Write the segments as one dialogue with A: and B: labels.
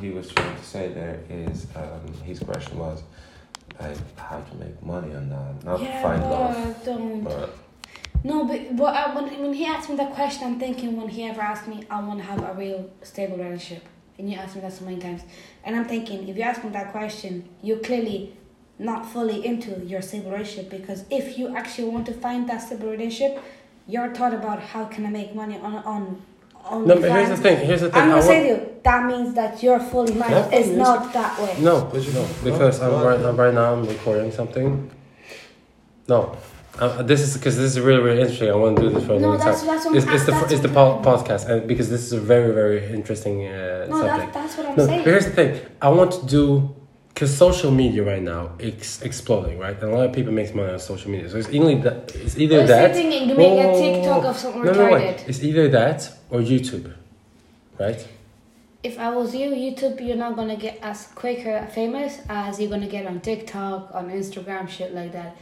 A: he was trying to say there is um, his question was like how to make money on that, not
B: yeah,
A: find
B: but
A: love.
B: don't.
A: But
B: No, but but I, when when he asked me that question, I'm thinking when he ever asked me, I want to have a real stable relationship, and you asked me that so many times, and I'm thinking if you ask me that question, you're clearly not fully into your stable relationship because if you actually want to find that stable relationship, your thought about how can I make money on on on.
C: No, but here's the thing. Here's the thing.
B: I'm
C: I
B: gonna say
C: want,
B: to you that means that you're fully married.
C: Yeah.
B: It's not that way.
C: no, no, because I'm right, I'm right now. I'm recording something. No, uh, this is because this is really, really interesting. I want to do this for a
B: No,
C: long
B: that's-
C: time.
B: that's what I'm-
C: it's, it's the
B: that's
C: it's the
B: what I'm-
C: po- podcast, and because this is a very, very interesting uh,
B: No,
C: subject.
B: that, that's what I'm
C: No,
B: saying.
C: but here's the thing. I want to do because social media right now it's exploding, right? And a lot of people makes money on social media. So it's either that, it's either
D: Who's
C: that.
D: sitting and
C: Whoa,
D: doing
C: whoa,
D: a
C: whoa,
D: TikTok
C: whoa.
D: of something
C: No, no, wait.
D: retarded?
C: It's either that or YouTube, right?
D: If I was you, YouTube, you're not gonna get as quicker famous as you're gonna get on TikTok, on Instagram, shit like that.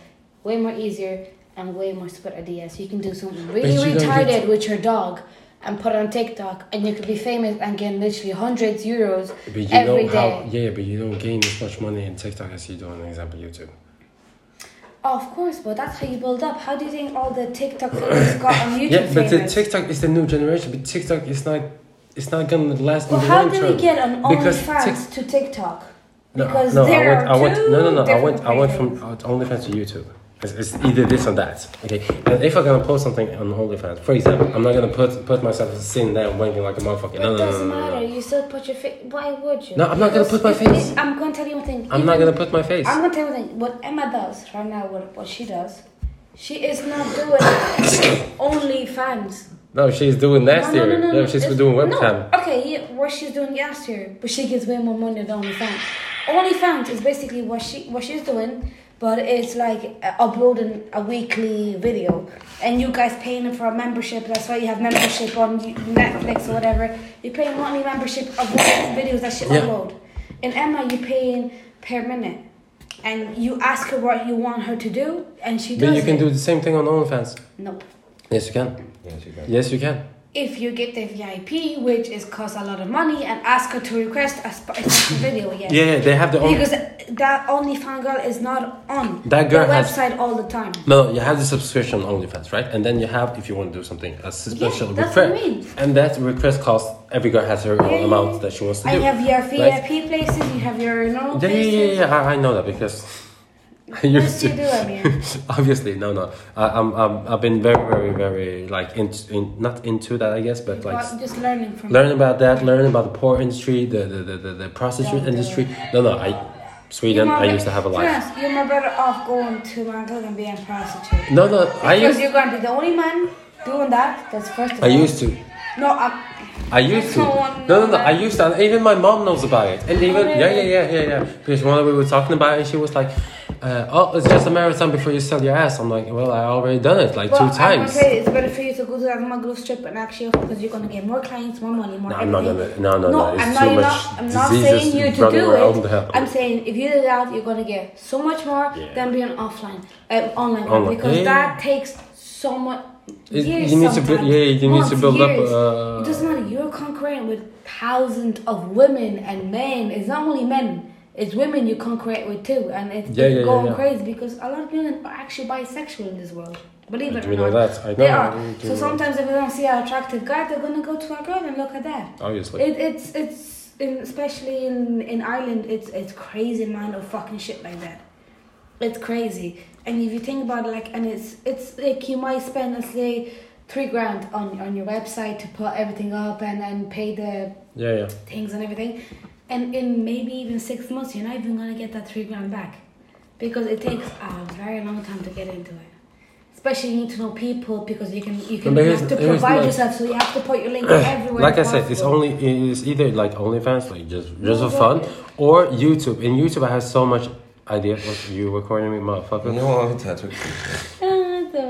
D: Way more easier and way more stupid ideas. You can do something really
C: you don't
D: retarded
C: get-
D: with your dog and put it on TikTok, and you could be famous and get literally hundreds euros
C: But you
D: every
C: know how?
D: day.
C: Yeah, but you don't gain as much money in TikTok as you do on, example, YouTube.
B: Oh, of course, but that's how you build up. How do you think all the TikTok famous got on YouTube?
C: yeah, but the
B: famous?
C: TikTok is the new generation. But TikTok is not. It's not gonna last.
B: Well,
C: in the
B: how
C: long
B: do
C: term.
B: we get on
C: Because
B: OnlyFans to TikTok?
C: No,
B: Because
C: no,
B: there are
C: I went, I went,
B: two
C: no, no, no. I
B: different
C: went, I went from
B: things.
C: uh, OnlyFans to YouTube. It's, it's either this or that. Okay, and if I'm gonna post something on OnlyFans, for example, I'm not gonna put put myself sitting there wanking like a motherfucker.
D: But
C: No,
D: it
C: no, no, no,
D: doesn't
C: no,
D: matter.
C: no.
D: You still put your face. Why would you?
C: No, I'm not gonna put my
B: If- if-
C: face.
B: I'm going to tell you one thing.
C: I'm not
B: Even-
C: gonna put my face.
B: I'm going to tell you one thing. What Emma does right now, what, what she does, she is not doing OnlyFans.
C: No, she's doing
B: No,
C: last
B: no, no,
C: year.
B: no,
C: No,
B: no,
C: she's
B: it's-
C: doing
B: no,
C: webcam.
B: Okay, yeah, what she's doing last year, but she gets way more money than OnlyFans. OnlyFans is basically what she what she's doing, but it's like uh, uploading a weekly video, and you guys paying for a membership. That's why you have membership on Netflix or whatever. You pay monthly membership of what videos that she
C: Yeah.
B: upload. In Emma, you paying per minute, and you ask her what you want her to do, and she does.
C: Then you can
B: it.
C: do the same thing on OnlyFans.
B: Nope.
C: Yes, you can.
A: yes, you can.
C: Yes, you can.
B: if you get the VIP, which is cost a lot of money, and ask her to request a special video, yes.
C: Yeah, yeah, they have the own.
B: Because that OnlyFans girl is not on
C: That girl
B: the
C: has-
B: website all the time.
C: No, you have the subscription on OnlyFans, right? And then you have, if you want to do something, a special
B: that's
C: request.
B: what I mean.
C: And that request cost, every girl has her own
B: Yeah, yeah,
C: amount
B: yeah.
C: that she wants to
B: And
C: do.
B: you have your
C: right?
B: VIP places, you have your normal
C: Yeah,
B: places.
C: yeah, yeah, yeah. I, I know that because I
B: What
C: used
B: do you
C: to.
B: do, Amir?
C: Obviously, no, no. I, I'm, I'm, I've been very, very, very like in, in, not into that, I guess, but like
B: Well, just learning from
C: learn about that, learn about the porn industry, the the the, the, the prostitute
B: Don't do
C: industry. No, no. I Sweden, I used to have a life.
B: Yes, you're more better off going to Mango than being a prostitute.
C: No, no. I
B: because
C: used,
B: you're going to be the only man doing that. That's first of
C: I
B: all.
C: used to.
B: No, I'm,
C: I used to.
B: No one
C: No, no, no.
B: knows
C: I used to. And even my mom knows about it. And even yeah, yeah,
B: really?
C: yeah, yeah, yeah. Because when we were talking about it, she was like, uh, "Oh, it's just a marathon before you sell your ass." I'm like, "Well, I already done it like
B: Well,
C: two
B: I'm gonna
C: times."
B: say it's better for you to go to that Maglo strip and actually because you're gonna get more clients, more money, more.
C: No, I'm not
B: everything.
C: gonna. No, no, no. It's
B: I'm
C: too
B: not, you're
C: much
B: not, I'm not
C: diseases
B: saying you to
C: running
B: do
C: around
B: it.
C: the house.
B: I'm saying if you do that, you're gonna get so much more
C: Yeah.
B: than being offline, um, online,
C: Online.
B: because
C: Yeah, yeah,
B: that takes so much.
C: It-
B: years
C: you need to build-
B: sometimes,
C: yeah, you need to
B: months,
C: build up,
B: years.
C: uh,
B: it doesn't matter. You're concurrent with thousands of women and men. It's not only men. It's women you concurrent with too, and it's,
C: Yeah,
B: it's
C: yeah, yeah,
B: going
C: yeah.
B: crazy because a lot of women are actually bisexual in this world. Believe
C: I
B: it
C: do
B: or
C: know
B: not,
C: that. I
B: they
C: know, Mm-hmm. I
B: are.
C: really do
B: so
C: know.
B: sometimes if they don't see an attractive guy, they're gonna go to a girl and look at that.
C: Obviously.
B: It, it's it's in, especially in in Ireland, it's it's crazy amount of fucking shit like that. It's crazy, and if you think about it, like, and it's it's like you might spend let's say three grand on on your website to put everything up and then pay the
C: yeah, yeah.
B: things and everything. And in maybe even six months, you're not even gonna get that three grand back because it takes a very long time to get into it. Especially you need to know people because you can you can
C: But
B: you
C: here's-
B: have to
C: here's
B: provide
C: the-
B: yourself, so you have to put your link everywhere.
C: Like I said, it's
B: possible.
C: only it's either like OnlyFans, like just just for fun, or YouTube. In YouTube, I have so much idea. What you recording me, motherfucker?
A: No, it's not okay.
B: Ah, that's so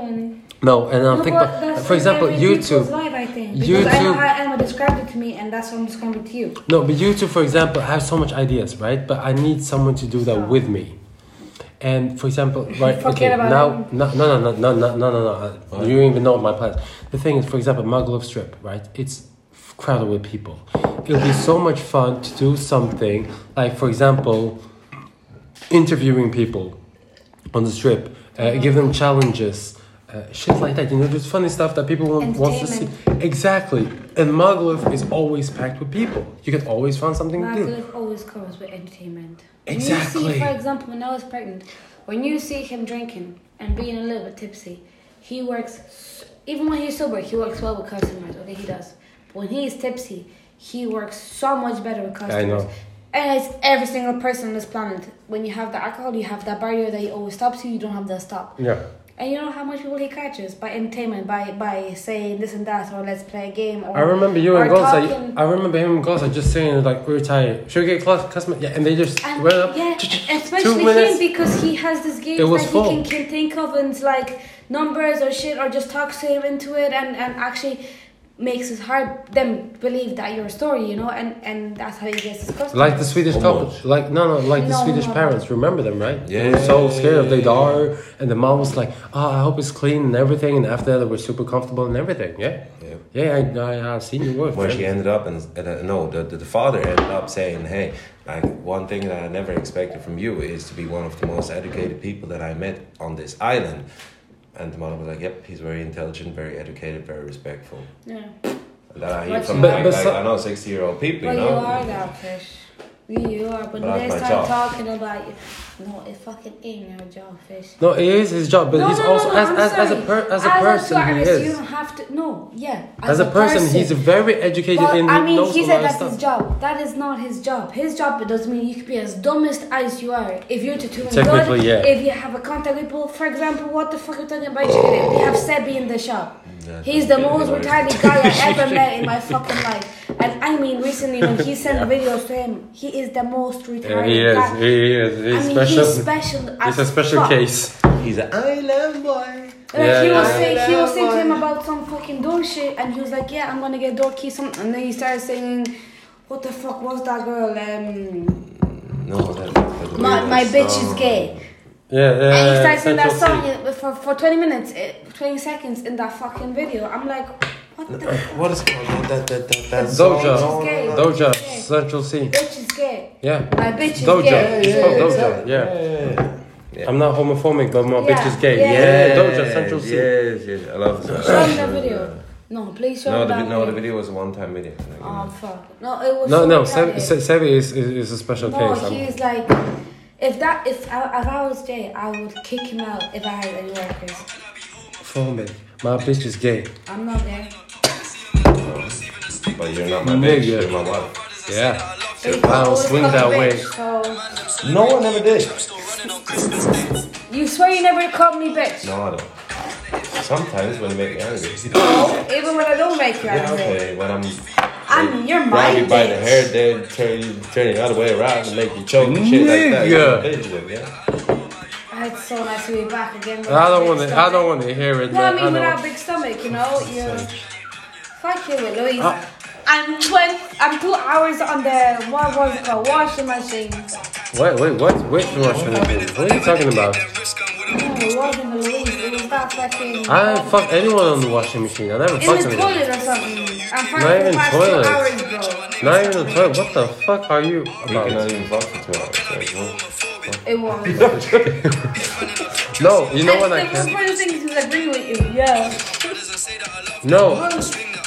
B: funny.
C: No, and I'm
B: No,
C: thinking.
B: but
C: about-
B: that's
C: for example,
B: every people's
C: YouTube.
B: Vibe, I think, because I know
C: YouTube-
B: how Emma described it to me, and that's what I'm describing to you.
C: No, but YouTube, for example, I have so much ideas, right? But I need someone to do that with me. And for example, right?
B: Forget
C: okay,
B: about
C: now, no, no, no, no, no, no, no, no, no. You don't even know my plans. The thing is, for example, Muggle Strip, right? It's crowded with people. It'll be so much fun to do something like, for example, interviewing people on the strip, uh, give them challenges, uh, shit like that. You know, there's funny stuff that people want, wants to see. Exactly. And Magaluf is always packed with people. You can always find something to do.
B: Magaluf always comes with entertainment. When you
C: Exactly.
B: see, for example, when I was pregnant, when you see him drinking and being a little bit tipsy, he works, s- even when he's sober, he works well with customers. Okay, he does. But when he is tipsy, he works so much better with customers.
C: know.
B: And it's every single person on this planet. When you have the alcohol, you have that barrier that you always stops you, you don't have that stop.
C: Yeah.
B: And you know how much people he catches by entertainment, by by saying this and that, or let's play a game. Or,
C: I remember you and
B: or
C: Gonza.
B: talking.
C: I remember him and Gonza just saying like, "We're tired. Should we get class customer?" Yeah, and they just
B: And
C: went up.
B: yeah,
C: two
B: especially
C: minutes.
B: him because he has this game
C: It was
B: that he
C: full.
B: can, can think of and it's like numbers or shit or just talks him into it and, and actually makes his heart them believe that your story, you know, and, and that's how he gets his customers.
C: Like the Swedish couple,
A: Almost.
C: like no, no, like the
B: No,
C: Swedish
B: no, no.
C: parents. Remember them, right? They
A: Yeah.
C: were so scared of their daughter, and the mom was like, "Oh, I hope it's clean and everything." And after that, they were super comfortable and everything. Yeah,
A: Yeah.
C: yeah, I, I, I've seen your work.
A: When
C: man.
A: she ended up, and uh, no, the, the, the father ended up saying, "Hey, like one thing that I never expected from you is to be one of the most educated people that I met on this island." And the mother was like, "Yep, he's very intelligent, very educated, very respectful."
B: yeah.
A: And that I hear
B: But-
A: from
C: but-
A: like,
C: but
A: like,
C: so-
A: I know sixty-year-old people,
B: Well,
A: you
B: you
A: know.
B: are that fish. You, you are. When
A: But
B: they
A: that's my job.
B: start talking about you, no, it fucking ain't your job, fish.
C: No, it is his job, but
B: no,
C: he's
B: no,
C: also
B: no, no,
C: as,
B: I'm
C: as, as a
B: sorry.
C: per, as a
B: as
C: person he
B: tourist, You
C: is.
B: don't have to. No, yeah.
C: As a person, he's very educated
B: Well,
C: and he
B: I mean,
C: knows
B: he
C: a
B: said
C: lot of
B: that's
C: stuff.
B: his job. That is not his job. His job it doesn't mean you could be as dumbest as you are. If you're tattooing
C: Technically,
B: good,
C: yeah.
B: if you have a contact with people, for example, what the fuck are you talking about? Chicken? We have Sebi in the shop.
A: Yeah,
B: He's the
A: yeah,
B: most
A: yeah.
B: retarded guy I ever met in my fucking life. And I mean, recently when he sent videos to him, he is the most retarded guy.
C: He is.
B: I mean, he's special. as fuck.
A: He's an island boy.
B: Like
C: Yeah,
B: he was
C: yeah.
B: saying, he was saying to him about some fucking door shit, and he was like, "Yeah, I'm gonna get door keys." Some, and then he started saying, "What the fuck was that girl? Um,
A: No, that, that um,
B: my my bitch is gay."
C: Yeah,
B: and
C: yeah.
B: he
C: um, yeah,
B: started singing that
C: Central
B: song
C: C.
B: in- for for 20 minutes, eh, 20 seconds in that fucking video. I'm like, "What the fuck?
A: What is called that that that that, that
C: Doja.
A: song?
B: Bitch is gay.
C: Doja, Central C.
B: Bitch is gay.
C: Yeah.
B: My bitch is
C: Doja.
B: gay."
C: It's called Doja.
A: exactly.
C: Yeah.
A: Yeah.
C: I'm not homophobic, but my bitch is gay.
B: Yeah.
C: Yeah, Doja, Central C.
A: Yes, yes, I love that.
B: Show me that video. No, please show
A: No,
B: me
A: the,
B: that
A: vi- no, the video
B: video.
A: was a one-time video. Like,
B: Oh fuck! No, it was
C: No,
B: so
C: no,
B: retarded.
C: Sebi Se- Sebi is, is, is a special
B: No,
C: case. I'm-
B: he's like, if that, if I, if I was gay, I would kick him out if I had any records.
C: Homophobic. My bitch is gay.
B: I'm not gay.
A: But you're not my
C: Nigga.
A: bitch. You're my wife.
C: Yeah.
B: I
C: I'll swing that way.
B: So
A: No one ever did.
B: you swear you never called me bitch.
A: No, I don't. Sometimes when you make me angry.
B: Even when I don't make you
A: Yeah,
B: angry.
A: okay. When I'm
B: I'm you're
A: grab
B: my
A: you by the
B: bitch.
A: hair, then turn you turn you the other way around and make you choke and shit like that.
C: Nigga.
A: You're a bitch, look, yeah.
B: Ah, It's so nice to be back again. with
C: I
B: a
C: don't
B: big
C: want to. I
B: stomach.
C: don't want to hear it,
B: No, I
C: man.
B: mean
C: I
B: without a
C: know.
B: big stomach, you know. You fuck you, Louise.
C: Ah.
B: I'm twen- I'm two hours on the what was it called washing machine. Oh,
C: Wait, wait, what? Wait, what? What are you talking about?
B: No, it wasn't the Louise. It was that fucking.
C: I don't fuck anyone on the washing machine. I never
B: In
C: fucked
B: the
C: anyone.
B: toilet or something. I'm
C: Not
B: fucking
C: even
B: for past
C: toilet.
B: two hours, bro.
C: Not even the toilet. What the fuck are you
A: We cannot
C: about?
A: even fuck for two hours. so, well,
B: It was. You
C: No, you know what I
B: was
C: can.
B: one of the things he's agreeing with you. Yeah.
C: No,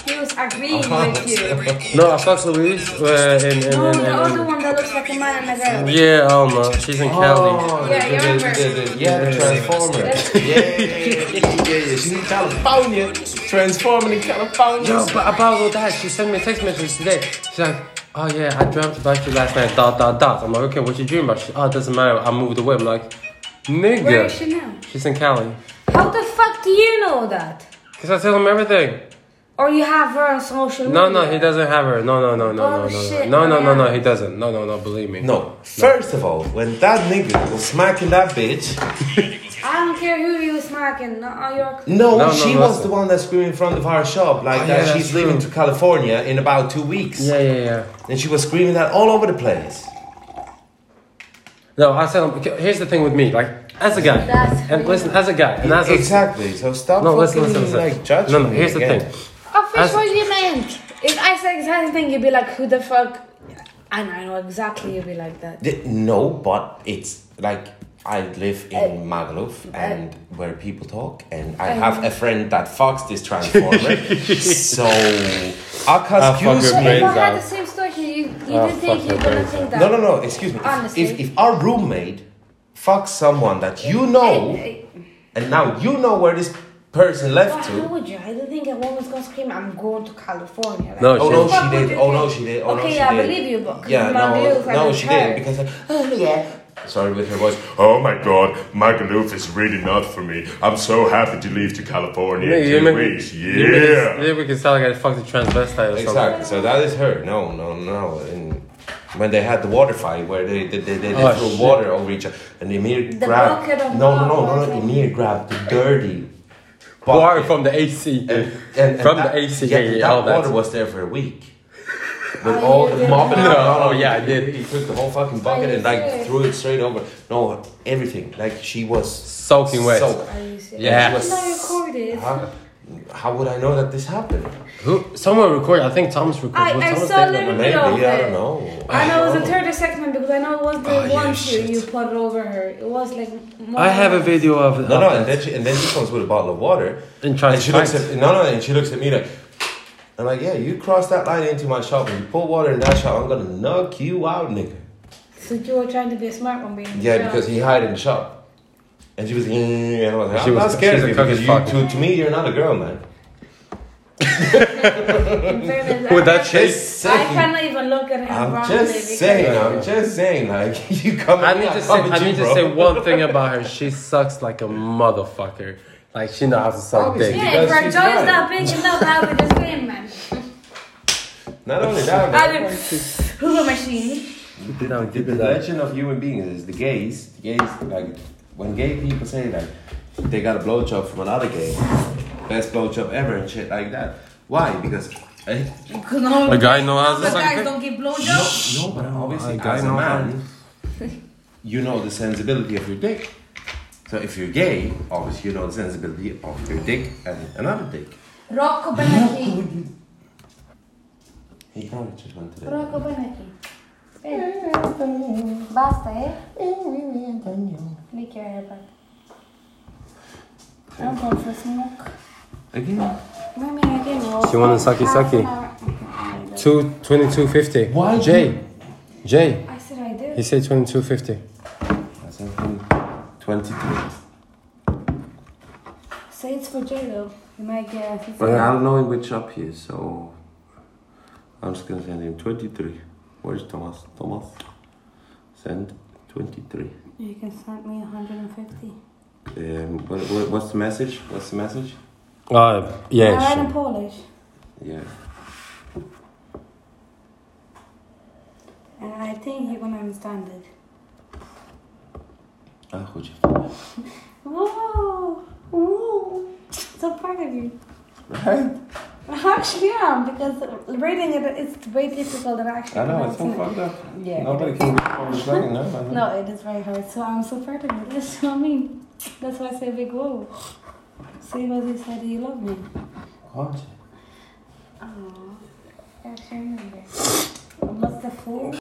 B: He was agreeing
C: Uh-huh.
B: with you.
C: no, I fucked Louise uh, in, in,
B: No,
C: in,
B: the
C: in,
B: other
C: in,
B: one that looks like a man and a girl.
C: Yeah, Alma. She's in Cali.
A: Oh,
B: Yeah, you
A: the- the- the- the- yeah, the Transformer. Yeah, yeah, yeah, yeah, yeah, yeah. She's in California. Transforming in California.
C: No, but about all that, she sent me a text message today. She's like, oh yeah, I dreamt about you last night, dot, dot, dot. I'm like, okay, what you dream about? She's, oh, it doesn't matter, I moved away. I'm like,
B: Where is
C: nigga.
B: she now?
C: She's in Cali.
B: How the fuck do you know that?
C: Because I tell him everything.
B: Or you have her on social media?
C: No, no, he doesn't have her. No, no, no, no, no,
B: Oh,
C: no, no.
B: shit,
C: No, no, no, no,
B: yeah.
C: he doesn't. No, no, no, believe me.
A: No. First of all, when that nigga was smacking that bitch,
B: I don't care who you smacking. Not all your.
A: no,
C: No, no,
A: she
C: no,
A: was
C: that's-
A: the one that screamed in front of our shop like
C: Oh,
A: that.
C: yeah,
A: she's
C: that's
A: leaving
C: true.
A: to California in about two weeks,
C: Yeah, yeah, yeah.
A: and she was screaming that all over the place.
C: No, I tell him, okay, here's the thing with me, like, as a guy,
B: That's
C: and listen, as a guy, and as a,
A: exactly. So stop
C: no,
A: fucking
C: listen, listen, listen.
A: like judging
C: no, no,
A: me
C: here's the
A: again.
C: thing.
B: Oh,
C: As-
B: fish, what do you meant? If I said exactly thing, you'd be like, who the fuck? And I know exactly you'd be like that.
A: The- No, but it's like I live
B: Oh.
A: in Magaluf and where people talk, and I have a friend that fucks this transformer. so, Akash,
C: fuck
A: excuse
C: your
A: me.
C: brains
D: If I had
C: out.
D: the same story, you, you
C: Ah,
D: didn't
C: fuck
D: think
C: your
D: you're gonna
C: brains
D: think
C: out.
D: that.
A: No, no, no. Excuse me. If-
D: Honestly.
A: If, if our roommate fucks someone that you know,
D: I-
A: and now you know where this person
B: Why,
A: left
B: how
A: to.
B: would you? I didn't think a woman's gonna scream, I'm going to California. Like,
C: No,
A: Oh no,
B: Fuck
A: she
B: would
A: did.
B: you
A: Oh
B: do?
A: no, she did. Oh no,
B: Okay,
A: she
B: I
A: did.
B: believe you, but
A: yeah,
B: my
A: no,
B: bills are
A: no,
B: with
A: she
B: her.
A: did because like, oh yeah. Sorry with her voice. Oh my god, Magaluf is really not for me. I'm so happy to leave to California in two weeks. Yeah.
C: Yeah, we can sound like I fucked a transvestite or something.
A: Exactly. So that is her. No, no, no. And when they had the water fight, where they they, they, they, they
C: Oh,
A: threw
C: shit.
A: water over each other, and Emir
D: The
A: grabbed
D: bucket of
A: no, no, no, no,
D: water.
A: no. Emir grabbed the dirty
C: Water
A: bucket.
C: from the AC.
A: and, and, and
C: from
A: that,
C: the AC.
A: Yeah,
C: Yeah, yeah,
A: that
C: all that.
A: water was there for a week. With
B: Oh,
A: all
B: you
A: the
B: did
A: mopping.
C: that.
A: up.
C: No, oh, yeah, I did.
A: He took the whole fucking bucket
D: you
A: and like
D: serious?
A: threw it straight over. No, everything. Like she was
C: Soaking wet.
A: soaked.
B: Are you serious?
A: Yeah.
C: Yeah.
A: was-
D: not recorded.
A: How, how would I know that this happened?
C: Who? Someone recorded. I think Thomas recorded.
B: I-
C: Was
B: I
C: Thomas
B: saw
C: there?
B: little-
A: Maybe
B: know,
A: I
B: but-
A: don't know.
B: And I was in
A: don't know.
B: third or second one because I know it was the
A: Oh, yeah,
B: one you
A: shit.
B: you put over her. It was like. more-
C: I have a video of.
A: No,
C: of
A: no,
C: that.
A: and then she and then she comes with a bottle of water,
C: And tries
A: and
C: to
A: she looks
C: fight.
A: at no, no, and she looks at me like, I'm like, yeah, you cross that line into my shop, and you pour water in that shop, I'm gonna knock you out, nigga.
B: So you were trying to be a smart one, being
A: Yeah, because he hid in the shop, and she was, "Mm," and I was like,
C: She
A: I'm
C: was-
A: not scared
C: she's
A: of
C: a
A: you
C: cock
A: because
C: as
A: you,
C: fuck.
A: to, to me, you're not a girl, man.
C: With that
B: shit.
C: shape.
A: Just
B: I
A: saying.
B: cannot even look at him.
A: I'm
B: wrongly
A: just
B: because-
A: saying. I'm just saying. Like you come.
C: I
A: at me,
C: need to say.
A: come at
C: I
A: you,
C: need
A: bro.
C: to say one thing about her. She sucks like a motherfucker. Like she knows how to suck
A: Obviously.
C: dick.
B: Yeah,
A: Because
B: if our
A: she's
B: jaw is
A: right.
B: that big, you know how with this game, man.
A: Not only that,
B: I
A: man.
B: mean, who's a machine?
C: No,
A: The, the legend of human beings is the gays. The gays, like, when gay people say that they got a blowjob from another gay, best blowjob ever and shit like that. Why? Because eh,
B: Because no,
C: A guy knows how to
B: the
C: suck
B: guys
C: dick.
B: don't give
A: no,
B: blowjobs.
A: no, but obviously
C: a guy
A: as a
C: know
A: man, you know the sensibility of your dick. So if you're gay, obviously you know the sensibility of your dick and another dick.
B: Rocco Benacchi.
A: He probably just went to the.
B: Rocco Benacchi. Eh. Basta, eh? Make your hair back. I'm going for a smoke.
A: Again.
B: I mean, again,
C: She want a sucky sucky.
B: Ah,
C: Two twenty-two fifty.
A: Why
C: Jay? Jay.
B: I said I
C: He
B: did.
C: said twenty-two fifty.
A: That's something. Twenty-three.
B: Say it's for J-Lo. You might get a
A: But I don't know in which shop he is, so I'm just gonna send him 23. Where's Thomas? Thomas, send 23.
B: You can send me 150.
A: Um, what, what, what's the message? What's the message?
C: Uh, yeah.
B: I write in
C: sure.
B: Polish.
A: Yeah.
B: And I think you're gonna understand it.
A: Ah, goed.
B: Whoa! Whoa! So proud of you. Right? I actually am, because reading it, it's way difficult than actually
A: I know, it's so
B: pronouncing
A: fucked up.
B: it. Yeah.
A: Nobody can Polish writing now. I know.
B: No, it is very hard. So I'm so proud of you. That's what I mean. That's why I say big whoa. See what you said you love me.
A: What?
B: Aww. That's your number. What's the fool?